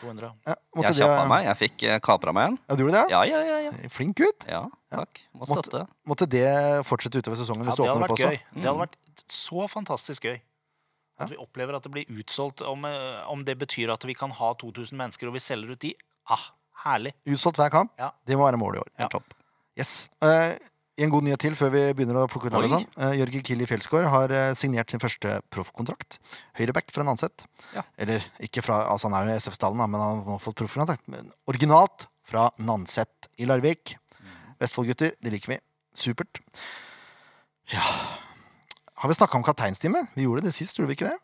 200.
Ja, måtte
Jeg
det-
kjappa meg. Jeg fikk eh, kapra meg igjen.
Ja, du gjorde det?
Ja, ja, ja. ja.
ja? Flink gutt.
ja takk. Må
Måtte-
støtte.
Måtte det fortsette utover sesongen
Ja,
hvis
det
du åpner opp
hadde vært
også?
gøy. Det
Mm.
hadde vært så fantastisk gøy. At vi opplever at det blir utsolgt. Om, ø, om det betyr at vi kan ha 2000 mennesker, og vi selger ut de. Ah, herlig.
Utsolgt hver kamp.
Ja.
Det må være målet i år.
Ja.
Det er topp.
Yes. Eh, en god nyhet til før vi begynner å plukke ut laget.
Oi.
Sånn. Eh, Jørgen Kili Fjelsgaard har eh, signert sin første proffkontrakt. Høyreback fra Nanset.
Ja.
Eller ikke fra altså Han er jo i SF-stallen, da, men han har fått proffkontrakt. Men originalt fra Nanset i Larvik.
Mm.
Vestfold-gutter, det liker vi. Supert. Ja Har vi snakka om kapteinstime? Vi gjorde det sist, gjorde vi ikke det?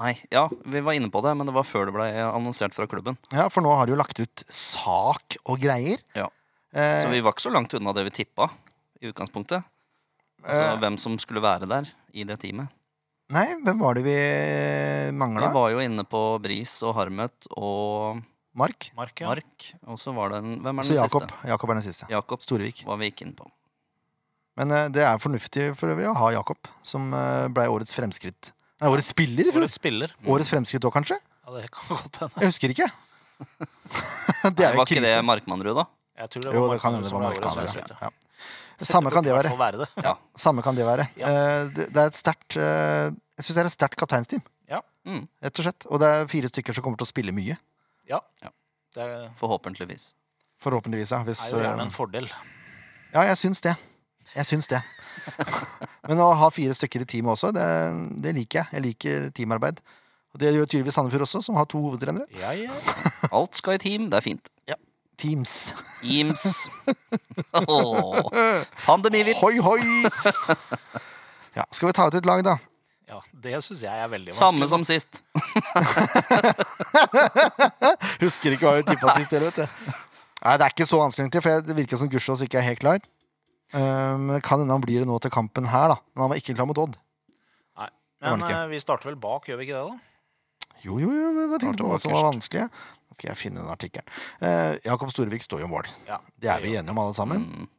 Nei, ja, vi var inne på det, men det var før det ble annonsert fra klubben.
Ja, for nå har de jo lagt ut sak og greier.
Ja.
Eh,
Så vi var ikke så langt unna det vi tippa i utgangspunktet.
Eh.
Altså hvem som skulle være der i det teamet.
Nei, hvem var det vi
Vi
mangla?
var jo inne på Bris og Harmet og
Mark?
Mark, ja.
Mark. Og så var det en Hvem er
Så
den
Jakob.
siste?
Jakob er den siste.
Jakob
Storevik.
var vi ikke inne på.
Men eh, det er fornuftig for øvrig å ha Jakob, som eh, ble årets fremskritt. Nei, årets spiller i fjor.
Årets spiller.
Årets fremskritt òg, kanskje?
Ja, det kan godt hende.
Jeg husker ikke. det er jo
var ikke det
krise.
Markmannrud, da?
Jeg tror det var
Jo, det kan
Mark
hende det
som
var
årets
Mark. Hansen,
fremskritt, ja.
Ja. Samme kan det
burde i
være.
hvert fall være det.
Samme kan det være.
Ja.
Eh, Det det er et sterkt eh, Jeg syns det er et sterkt kapteinsteam,
Mm,
rett og slett. Og det er fire stykker som kommer til å spille mye.
Det er
forhåpentligvis.
Forhåpentligvis, ja. Hvis,
er jo gjerne
eh,
en fordel.
Ja, jeg syns det. Jeg syns det. Men å ha fire stykker i teamet også, det, det liker jeg. Jeg liker teamarbeid. Og det gjør tydeligvis Sandefjord også, som har to hovedtrenere.
Ja, ja.
Alt skal i team, det er fint.
Teams.
Eames. Åh, Pandemivits.
Hoi, hoi! Ja, skal vi ta ut et lag, da?
ja det syns jeg er veldig vanskelig.
Samme som sist.
Husker ikke hva vi tippa sist heller, vet du. Nei, det er ikke så vanskelig, egentlig, for jeg- det virker som Gussiås ikke er helt klar. Eh, Men det kan hende han blir det nå til kampen her, da. Men han var ikke klar mot Odd. Det var
Men
det ikke.
eh, vi starter vel bak, gjør vi ikke det, da?
Jo, jo, jo, jeg tenkte på hva
tilbake
som var vanskelig. Nå skal jeg finne den artikkelen. Eh, Jakob Storevik står jo i mål.
Ja,
Det er vi enige om, alle sammen.
Mm.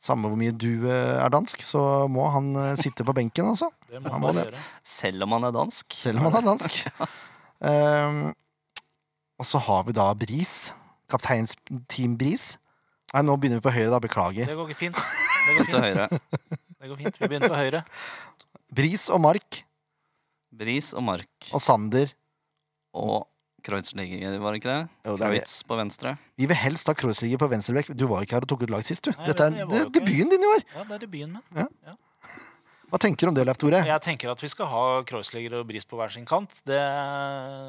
Samme hvor mye du eh, er dansk, så må han eh, sitte på benken, altså.
Det
Ja,
må
må
man
det.
gjøre.
Selv om han er dansk.
Selv om han er dansk. Ehm, og så har vi da Bris. Kapteins Team Bris. Nei, nå begynner vi på høyre, da. Beklager.
Det går ikke fint. Det går
Til
fint.
høyre.
Det går fint. Vi begynner på høyre.
Bris og Mark
Bris og Mark.
og Sander.
Og Kreuzliger, var det ikke det?
Jo, det er det.
Kreutz på venstre.
Vi vil helst ha Kreuzliger på venstrebekk. Du var jo ikke her og tok ut lag sist, du.
Nei, jeg
Dette er
vet det, jeg var jo ikke.
debuten din i år.
Ja, det er debuten min.
Hva tenker du om det, Leif Tore?
Jeg tenker at vi skal ha Kreuzliger og Bris på hver sin kant. Det,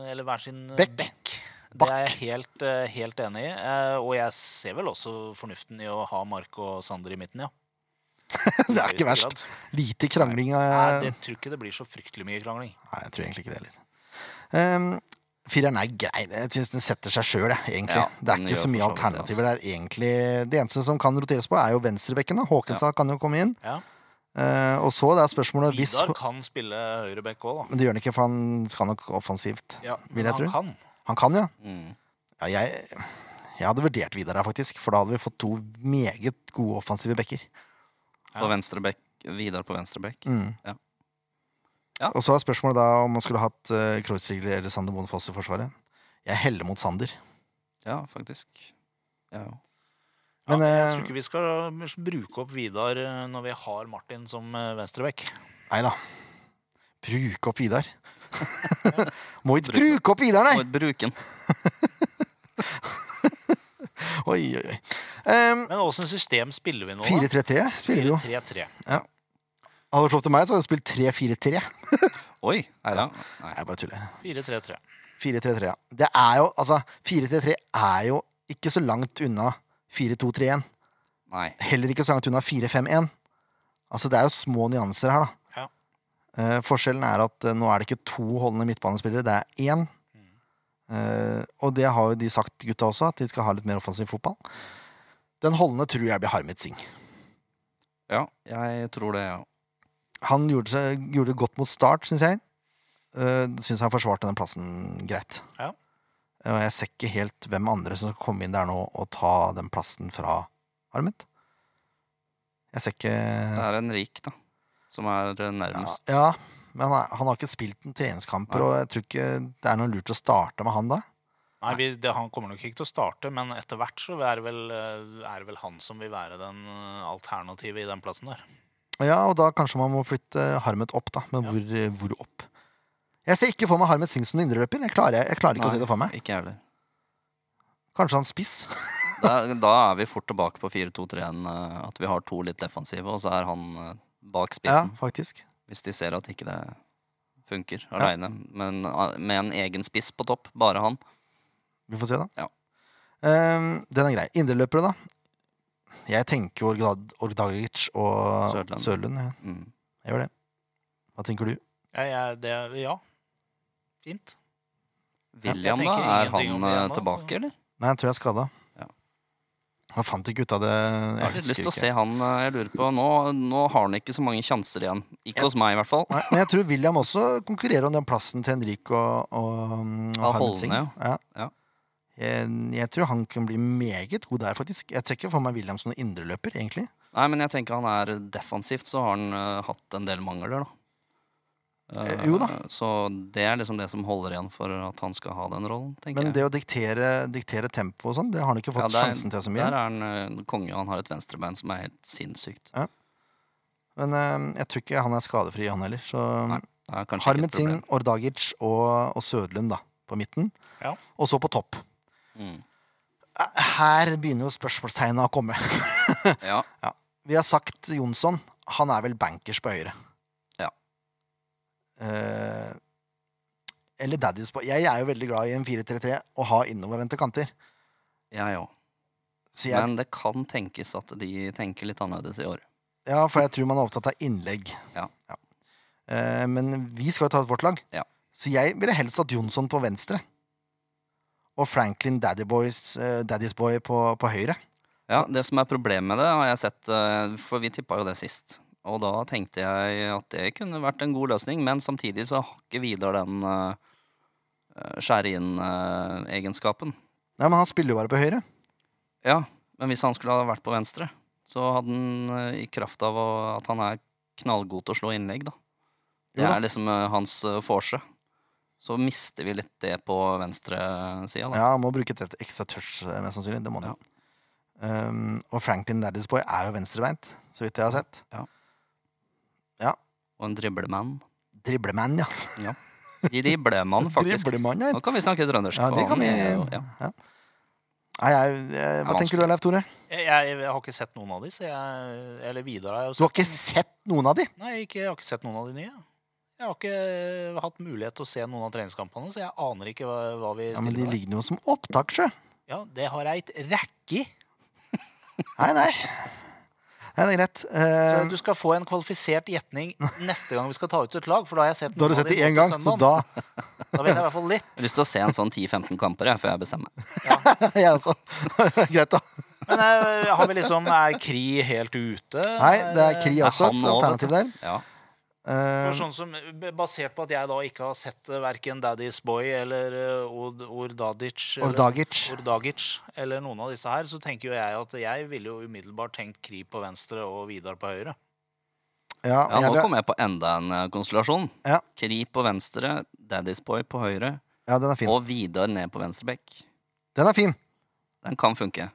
eller hver sin eh,
Bekk.
bekk. Det er
Bakk.
jeg helt, eh, helt enig i. Eh, Og jeg ser vel også fornuften i å ha Mark og Sander i midten, ja.
Det er ikke
I høyeste
verst.
grad.
Lite krangling.
Nei,
eh,
det tror ikke det blir så fryktelig mye krangling.
Nei, jeg tror egentlig ikke det heller. Ehm, fireren er grei. Jeg syns den setter seg sjøl, egentlig.
Ja,
det er
den
ikke
gjør
så mye
for så vidt altså. det,
alternativer der, egentlig. Det eneste som kan roteres på, er jo venstrebekken. da. Håkenstad kan jo komme inn.
Ja.
Eh, og så det er spørsmålet hvis
Vidar kan spille høyreback òg, da.
Men det gjør han ikke, for han skal nok offensivt.
Ja,
vil
men
jeg
han
tro.
kan.
Han kan, ja.
Mm.
ja jeg, jeg hadde vurdert Vidar her, faktisk. For da hadde vi fått to meget gode offensive backer.
På venstre bekk. Vidar på venstre bekk.
Mm.
Ja. Ja.
Og så er spørsmålet da om man skulle hatt uh, Kreuzrigler eller Sander Moen Foss i Forsvaret. Jeg heller mot Sander.
Ja, faktisk. Ja, jo.
Ja,
Men,
men jeg
eh,
tror ikke vi skal bruke opp Vidar eh, når vi har Martin som eh, venstreback.
Nei da. Bruk opp Vidar. Må ikke bruke opp Vidar, nei!
Må bruke den.
Oi, oi, oi. Ehm,
Men åssen system spiller vi nå, da?
4-3-3 spiller vi jo.
4-3-3.
Hadde du slått til meg, så hadde du spilt 3-4-3. Nei,
Oi! Ja,
Neida.
nei.
jeg bare tuller.
4-3-3.
4-3-3, ja. Det er jo, altså, 4-3-3 er jo ikke så langt unna 4-2-3-1.
nei.
Heller ikke sånn så langt unna 4-5-1. Altså, det er jo små nyanser her, da.
Ja.
Eh, forskjellen er at eh, nå er det ikke to holdende midtbanespillere, det er én. Eh, og det har jo de sagt, gutta også, at de skal ha litt mer offensiv fotball. Den holdende tror jeg blir Harmet Singh.
Ja, jeg tror det, ja.
Han gjorde, seg, gjorde det godt mot start, syns jeg. Uh, syns han forsvarte den plassen greit.
Ja.
Eh, Og jeg ser ikke helt hvem andre som skal komme inn der nå og ta den plassen fra Harmet. Jeg ser ikke
Det er en rik, da. Som er eh,
ja,
nærmest.
ja, men han, er, han har ikke spilt noen treningskamper,
Nei.
og jeg tror ikke det er noe lurt å starte med han da.
Nei, vi, det, Han kommer nok ikke til å starte, men etter hvert så er det vel, eh, er det vel han som vil være den eh, alternativet i den plassen der.
Ja, og da kanskje man må flytte Harmet opp, da. Men hvor, hvor opp? Jeg ser ikke for meg Harmet Singh som indreløper. Jeg klarer, jeg klarer ikke å se det for meg.
Ikke jeg heller.
Kanskje han spiss?
Da, da er vi fort tilbake på 4-2-3-1. eh, At vi har to litt defensive, og så er han eh, bak
Ja,
spissen.
faktisk.
Hvis de ser at ikke det funker aleine. Men eh, med en egen spiss på topp, bare han.
Vi får se, da.
Ja.
Ehm, den er grei. Indreløpere, da? Jeg tenker jo Orgdad- Orgdagic og
Sørlund.
Sørlund. ja.
Mm.
Jeg gjør det. Hva tenker du?
Ja, jeg- det, ja. fint. jeg
William, da?
tenker
Er
ingenting om
han
det
eh,
ennå.
tilbake, eller?
Nei, jeg tror jeg er skada.
Ja.
Jeg fant ikke ut av det.
Jeg
Jeg
har litt
husker
lyst til å
ikke.
se han. eh, Jeg lurer på, Nå, nå har han ikke så mange sjanser igjen. Ikke hos meg, i hvert fall.
Nei, men jeg tror William også konkurrerer om den plassen til Henrik og, og, mm, og
Ja,
Harmet
holdende,
Singh.
ja.
Ja.
Ja.
Jeg, jeg tror han kan bli meget god der, faktisk. Jeg ser ikke for meg William som noen indreløper, egentlig.
Nei, men jeg tenker han er defensivt, så har han eh, hatt en del mangler, da. Eh,
Eh, jo da.
Så det er liksom det som holder igjen for at han skal ha den rollen, tenker
Men
jeg.
det å diktere, diktere tempo og sånn, det har han ikke
Ja,
fått
det er-
sjansen til så mye.
Der er han eh, konge, og han har et venstrebein som er helt sinnssykt.
Men eh, jeg tror ikke han er skadefri, han heller. Så mm,
Det er kanskje
Harmet
ikke et
Singh, Ordagic og, og Sødlund da, på midten.
Ja.
Og så på topp.
problem.
Her begynner jo spørsmålstegna å komme.
Mm. Ja,
Vi har sagt Jonsson. Han er vel bankers på høyre.
Ja.
Eh, eller daddies på Jeg er jo veldig glad i en 4-3-3 og ha innovervendte kanter.
jeg òg.
Så jeg,
Men det kan tenkes at de tenker litt annerledes i år.
ja, for jeg tror man er opptatt av innlegg.
Ja.
Eh, men vi skal jo ta ut vårt lag.
Ja.
Så jeg ville helst hatt Jonsson på venstre. Og Franklin Daddy Boys, eh, Daddy's Boy på, på høyre.
Ja, Det som er problemet med det, har jeg sett, eh, for vi tippa jo det sist. Og da tenkte jeg at det kunne vært en god løsning, men samtidig så har ikke Vidar den eh, eh, skjære inn-egenskapen.
Nei, men han spiller jo bare på høyre.
Ja, men hvis han skulle ha vært på venstre, så hadde han eh, i kraft av å- at han er knallgod til å slå innlegg, da. Det
Jo da.
er liksom eh, hans eh, forse. Så mister vi litt det på venstresida, da.
Ja, han må bruke et ekstra touch, eh, mest sannsynlig. Det må han jo. Um, og Franklin Daddy's Boy er jo venstrebeint, så vidt jeg har sett.
Og en driblemann.
Driblemann, ja.
Driblemann, faktisk.
Driblemann, ja.
Nå kan vi snakke trøndersk.
Ja, det
for
kan vi
han er jo-
ja.
ja.
Nei, jeg, jeg, Hva
vanskelig.
tenker du, Leif Tore?
Jeg, jeg, jeg har ikke sett noen av de, så jeg Eller Vidar har jeg jo
Du har ikke sett noen av de?
Nei, ikke, jeg har ikke sett noen av de nye. Jeg har ikke hatt mulighet til å se noen av treningskampene, så jeg aner ikke hva, hva vi
Ja, Men
stiller
de
med.
ligger jo som opptak, sjø.
Ja, det har jeg et rekke i.
Nei, nei. Nei, det er greit.
Så
Eh,
Du skal få en kvalifisert gjetning neste gang vi skal ta ut et lag. For da har jeg sett
da har du
noen av
sett det
de
én
nå
gang,
til
så
søndagen.
da
Da vet jeg i hvert fall litt.
Jeg har lyst til å se en sånn 10-15 kamper jeg, før jeg bestemmer meg.
jeg også. altså. Greit, da.
Men eh, har vi liksom Er Kri helt ute? Eh,
Nei, det er Kri
Ja,
også
han
et
også,
alternativ der.
Ja.
Eh,
For sånn som, basert på at jeg da ikke har sett eh, verken Daddy's Boy eller eh, Od- Ordadic eller-
Ordagic.
Ordagic eller noen av disse her, så tenker jo jeg at jeg ville jo umiddelbart tenkt Kri på venstre og Vidar på høyre.
Ja,
ja,
jeg,
nå
vil-
kom jeg på enda en eh, konstellasjon.
Ja.
Kri på venstre, Daddy's Boy på høyre
ja, den er fin.
og Vidar ned på venstre bekk.
Den er fin.
Den kan funke.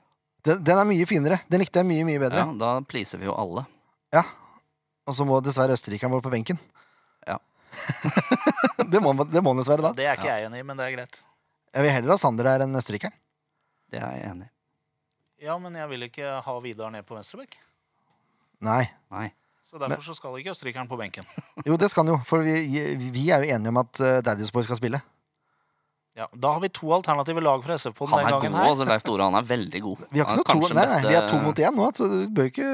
Den, den er mye finere. Den likte jeg mye, mye
Ja,
bedre.
da pleaser vi jo alle.
Og så må dessverre østerrikeren vår på benken.
Ja.
det, må, han- det må han dessverre da.
Det er ikke jeg enig i, men det er greit.
Jeg vil heller ha Sander her enn østerrikeren.
Det er jeg enig i.
Ja, men jeg vil ikke ha Vidar ned på venstrebekk.
Nei.
Nei.
Så derfor så skal ikke østerrikeren på benken.
Jo, det skal han jo, for vi, vi er jo enige om at eh, Daddy's Boy skal spille.
Ja, da har vi to alternative lag fra SF på
Han
den
er
gangen
god,
her.
altså. Leif Tore han er veldig god.
Vi har ikke
Han er
noe to,
kanskje
nei, nei,
beste-
vi er to mot én nå, så du bør ikke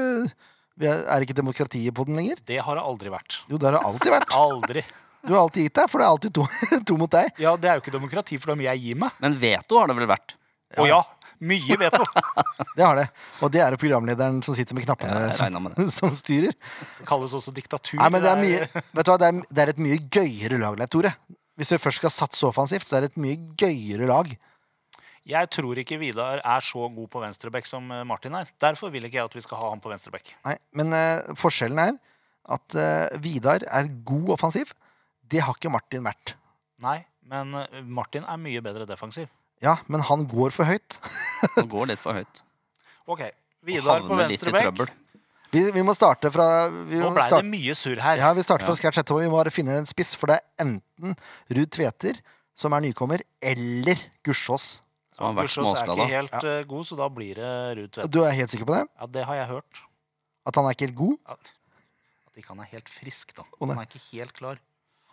vi er, er ikke demokratiet på den lenger?
Det har det aldri vært.
Jo, det har det alltid vært.
Aldri.
Du har alltid gitt deg, for det er alltid to, to mot deg.
Ja, det er jo ikke demokrati for dem jeg gir meg.
Men veto har det vel vært?
Å ja, mye veto.
Det har det. Og det er det programlederen som sitter med knappene
Ja, jeg regner med
som, som styrer.
Det kalles også diktatur.
Nei, men det er
Det
mye
er-
Vet du hva, det er, det er et mye gøyere lag, Leif Tore. Hvis vi først skal satse offensivt, så er det et mye gøyere lag.
Jeg tror ikke Vidar er så god på venstrebekk som eh, Martin er. Derfor vil ikke jeg at vi skal ha han på venstrebekk.
Nei, men eh, forskjellen er at eh, Vidar er god offensiv. Det har ikke Martin vært.
Nei, men eh, Martin er mye bedre defensiv.
Ja, men han går for høyt.
Han går litt for høyt.
Ok, Vidar på
Havner litt i
venstrebekk.
trøbbel.
Vi, vi må starte fra vi
Nå
må
ble det
starte,
mye surr her.
Ja, vi starter fra scratch etterpå. Vi må bare finne en spiss, for det er enten Ruud Tveter, som er nykommer, eller Gussiås.
Så han har vært
Gussiås er ikke
småskada.
helt eh, god, så da blir det Ruud Tvedt.
Du er helt sikker på det?
Ja, det har jeg hørt.
At han er ikke helt god?
At at ikke han er helt frisk, da.
Å, nei.
Han er ikke helt klar.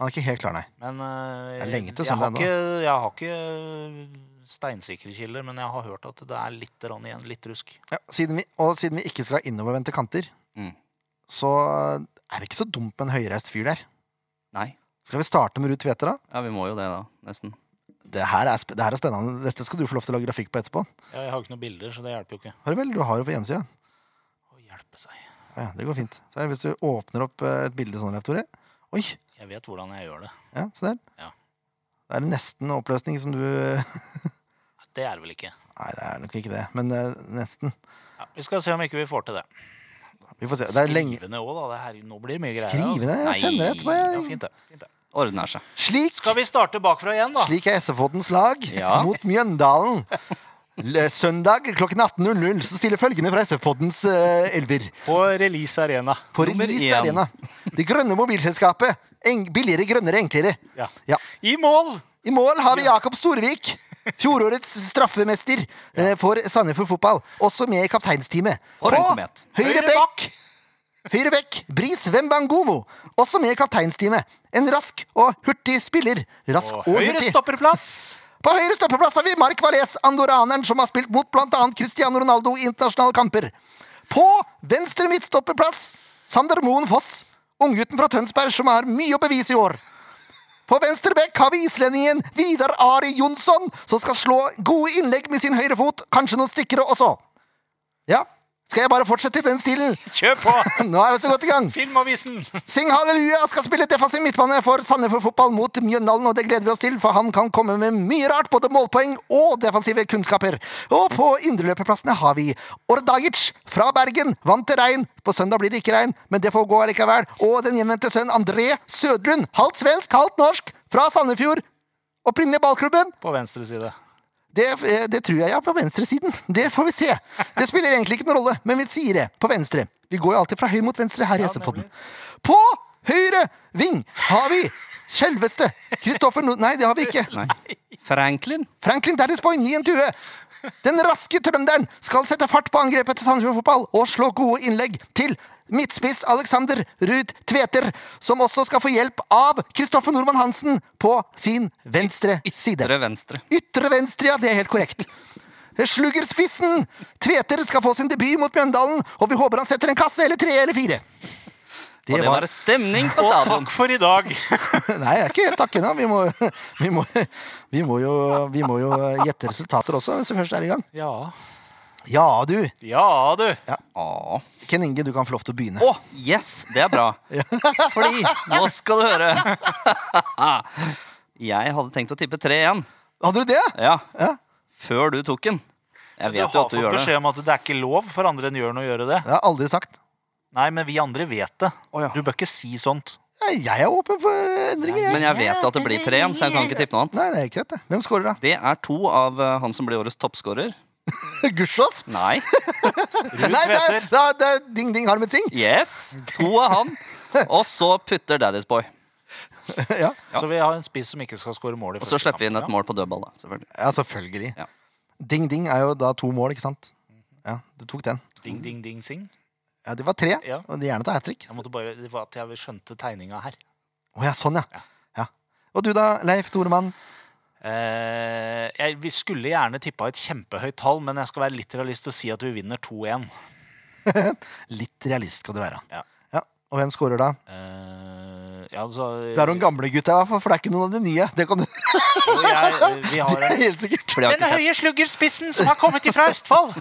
Han er ikke helt klar, nei.
Men eh,
Det er
jeg,
lenge til
har
søndag
ikke, jeg har ikke eh, steinsikre kilder, men jeg har hørt at det er litt rann igjen. Litt rusk.
Ja, siden vi, og siden vi ikke skal ha innovervendte kanter,
Mm.
så er det ikke så dumt med en høyreist fyr der.
Nei.
Skal vi starte med Ruud Tveter, da?
Ja, vi må jo det, da. Nesten.
Det her, er, sp- det her er spennende. Dette skal du få lov til å lage grafikk på etterpå.
Ja, jeg har ikke noen bilder, så det hjelper jo ikke.
Har du vel? Du har jo på hjemmesida.
Å hjelpe seg.
Ja, ja, det går fint. Så her, hvis du åpner opp eh, et bilde sånn, Leif Tore Oi!
Jeg vet hvordan jeg gjør det.
Ja, se der.
Ja.
Det er nesten oppløsning som du Nei,
Det er det vel ikke.
det er nok ikke det, men eh, nesten.
Ja, vi skal se om ikke vi får til det.
Vi får se. Det er lenge
Skrivende òg, da. Det her, nå blir det mye greier. altså.
Skriv ned.
Nei.
Jeg sender det etterpå.
Ja,
jeg.
fint det. Fint det.
Ordner seg.
Slik,
Skal vi starte bakfra igjen, da?
slik er SF-Oddens lag
Ja.
mot Mjøndalen. L- Søndag klokken 18.00 så stiller følgende fra SF-Oddens eh, elver.
På Release Arena.
På
Nummer
Release
én.
Arena. Det grønne mobilselskapet. Eng, billigere, grønnere, enklere.
Ja.
Ja.
I mål!
I mål har vi Jakob Storvik. Fjorårets straffemester eh, for Sandefjord Fotball. Også med i kapteinsteamet.
For en komet.
høyre bekk Høyre bekk, Bris Wembangomo, også med i kapteinsteamet. En rask og hurtig spiller. Rask
Og
og,
høyre
hurtig.
stopperplass.
På høyre stoppeplass har vi Mark Valles, andoraneren som har spilt mot bl.a. Cristiano Ronaldo i internasjonale kamper. På venstre midtstoppeplass Sander Moen Foss, unggutten fra Tønsberg som har mye å bevise i år. På venstre bekk har vi islendingen Vidar Ari Jonsson, som skal slå gode innlegg med sin høyre fot, kanskje noen stikkere også. Ja, skal jeg bare fortsette i den stilen?
Kjør på!
Nå er vi så godt i gang.
Filmavisen.
Sing Halleluja skal spille defensiv midtbane for Sandefjord Fotball mot Mjøndalen, og det gleder vi oss til, for han kan komme med mye rart, både målpoeng og defensive kunnskaper. Og på indreløperplassene har vi Ordagic fra Bergen, vant til regn. På søndag blir det ikke regn, men det får gå allikevel. Og den hjemvendte sønn André Sødlund, halvt svensk, halvt norsk, fra Sandefjord. Opprinnelig ballklubben.
På venstre side.
Det, eh, det tror jeg er på venstresiden. Det får vi se. Det spiller egentlig ikke noen rolle, men vi sier det. På venstre. Vi går jo alltid fra høy mot venstre her i SV-podden. På høyre ving har vi selveste Kristoffer Nord... Nei, det har vi ikke.
Nei. Franklin?
Franklin Derris Boy, 29. Den raske trønderen skal sette fart på angrepet til Sandefjord Fotball og slå gode innlegg til midtspiss Alexander Ruud Tveter, som også skal få hjelp av Kristoffer Nordmann Hansen på sin venstre side.
Ytre venstre.
Ytre venstre, ja, det er helt korrekt. Sluggerspissen! Tveter skal få sin debut mot Mjøndalen, og vi håper han setter en kasse eller tre eller fire.
Og det var stemning på
Og
stadion.
takk for i dag.
Nei, jeg er ikke helt takkende. Vi må, vi eh, må, vi må, jo, vi må jo gjette resultater også, hvis vi først er i gang.
Ja.
Ja, du.
Ja, du!
Ah.
Ken Inge, du kan få lov til å begynne.
Å, yes! Det er bra. Fordi nå skal du høre. jeg hadde tenkt å tippe tre igjen.
Hadde du det?
Ja.
Ja.
Før du tok den. Jeg
Du
vet jo
har
at du
fått
gjør det.
beskjed om at det er ikke lov for andre enn Jørn å gjøre det.
Det har jeg aldri sagt.
Nei, men vi andre vet det.
Å, ja.
Du bør ikke si sånt.
Nei, Jeg er åpen for endringer, jeg.
Men jeg vet jo at det blir tre igjen, så jeg kan ikke tippe noe annet.
Nei, det er ikke rett, det. Hvem scorer, da?
Det er to av eh, han som blir årets toppskårer.
Gusjås?
Nei.
Ruud
Nei, det er,
Tveter.
det er, det er ding, ding, har med ting.
Yes! To av han. Og så putter Daddy's Boy.
ja.
Så vi har en spiss som ikke skal skåre mål. i
Og så
første
slipper vi inn
kampen,
et mål på dødball, da. Selvfølgelig.
ja, selvfølgelig.
Ja.
Ding, ding er jo da to mål, ikke sant? Ja, du tok den.
ja. Ding, ding, ding, sing.
Ja, det var tre.
Ja.
Og det er gjerne til hat trick.
Jeg måtte bare, det var at jeg skjønte tegninga her.
Å ja, sånn, ja.
Ja.
ja. Og du da, Leif Toremann?
Eh, jeg vi skulle gjerne tippa et kjempehøyt tall, men jeg skal være litt realist og si at vi vinner 2-1.
Litt realist skal du være.
Ja.
Og hvem scorer da?
Eh, ja, altså
Det er noen gamle gutta, i hvert fall, for det er ikke noen av de nye. Det kan du
jo, jeg, eh, vi har
Det er
en,
helt sikkert.
For de har
Den
ikke sett
høye sluggerspissen som har kommet ifra Østfold!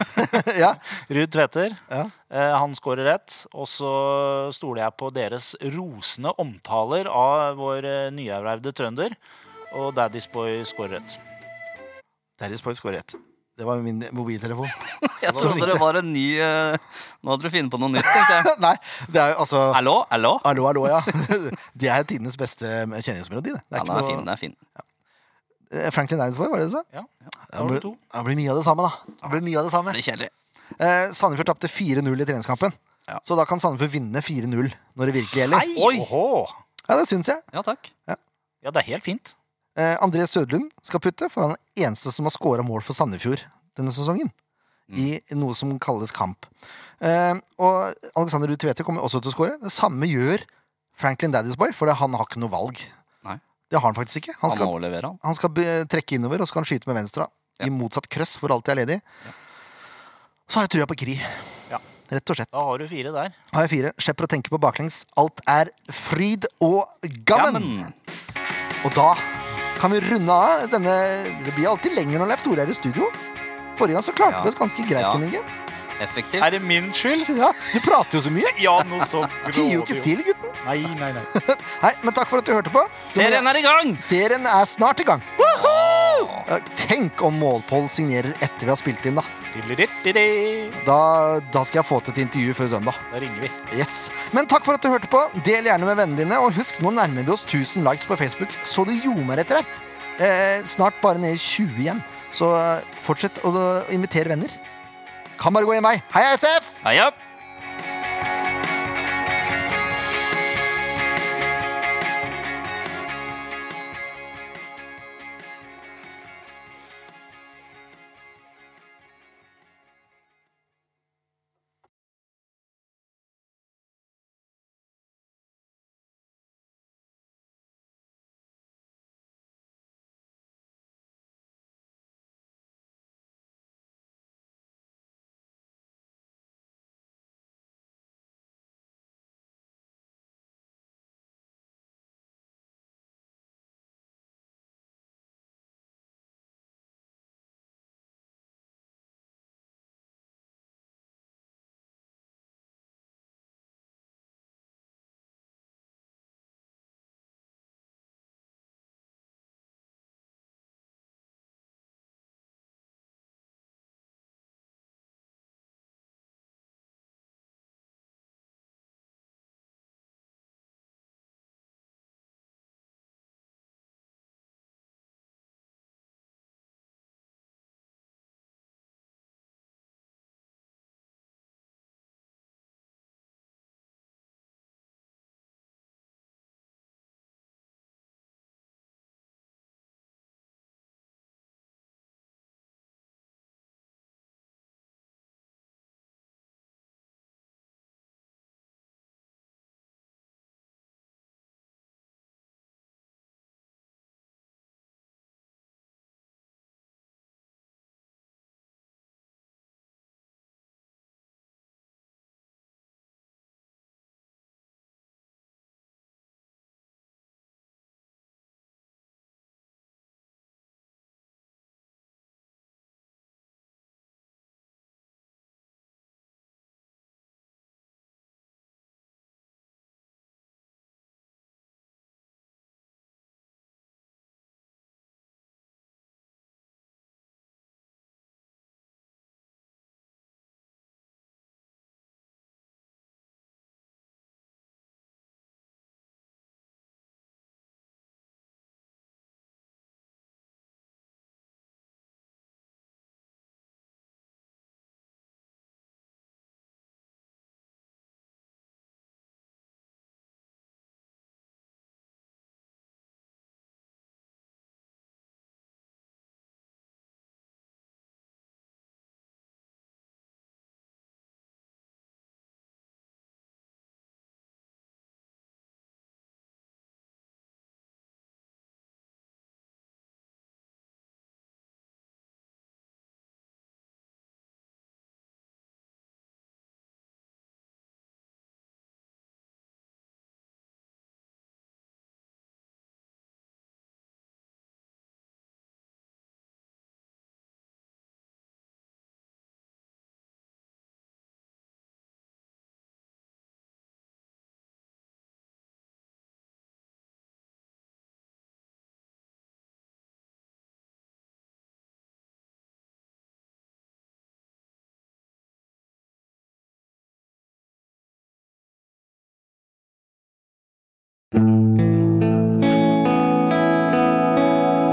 ja.
Ruud Tveter.
Ja.
Eh, han skårer rett. Og så stoler jeg på deres rosende omtaler av vår eh, nyervervde trønder. Og Daddy's Boy skårer rett.
Terje Spoy scorer ett. Det var min mobiltelefon.
Jeg trodde det var en ny eh, Nå hadde du funnet på noe nytt, tenkte jeg.
Nei, det er jo altså
Hallo? Hallo?
Hallo, hallo, ja. Det er tidenes beste kjenningsmelodi. Det. Det er
Ja,
ikke
den
noe-
er fin. Den er fin.
Eh, Franklin Einsvoll, var det det du sa?
Ja.
Det blir, det blir mye av det samme, da. Det blir mye av det samme.
Blir kjedelig.
Eh, Sandefjord tapte 4-0 i treningskampen.
Ja.
Så da kan Sandefjord vinne 4-0 når det virkelig gjelder.
Hei!
Oi!
Åhå!
Ja, det syns jeg.
Ja takk.
Ja, det er helt fint.
Eh, André Stødlund skal putte, for han er den eneste som har scora mål for Sandefjord denne sesongen.
Mm.
I noe som kalles kamp. Eh, og Alexander Ruud Tvedte kommer også til å score. Det samme gjør Franklin Daddy's Boy, for det, han har ikke noe valg.
Nei.
Det har han faktisk ikke. Han
Han
skal
må levere, han.
Han skal be- trekke innover, og så skal han skyte med venstre.
Ja.
I motsatt krøss, hvor alt er ledig. Så har jeg trua på Kri.
Ja.
Rett og slett.
Da har du fire der.
Har jeg fire. Slipper å tenke på baklengs. Alt er fryd og gammen.
Jammen.
Og da kan vi runde av denne Det blir alltid lenger når Leif Tore er i studio. Forrige gang så klarte
Ja.
vi oss ganske greit.
Ja.
Ken Inge.
Effektivt.
Er det min skyld?
Ja, du prater jo så mye.
Ja, noe så
Tier jo ikke stille, gutten.
Nei, nei, nei.
Nei, men takk for at du hørte på.
Serien er i gang!
Serien er snart i gang. Ja, Tenk om Målpål signerer etter vi har spilt inn, da.
Diddelididdidi.
Da, da skal jeg få til et intervju før søndag.
Da ringer vi.
Yes. Men takk for at du hørte på. Del gjerne med vennene dine. Og husk, nå nærmer vi oss 1000 likes på Facebook, så du ljomer etter her. Eh, snart bare ned i 20 igjen. Så eh, fortsett å å invitere venner. Kan bare gå i meg. Hei, SF!
Heia!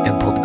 En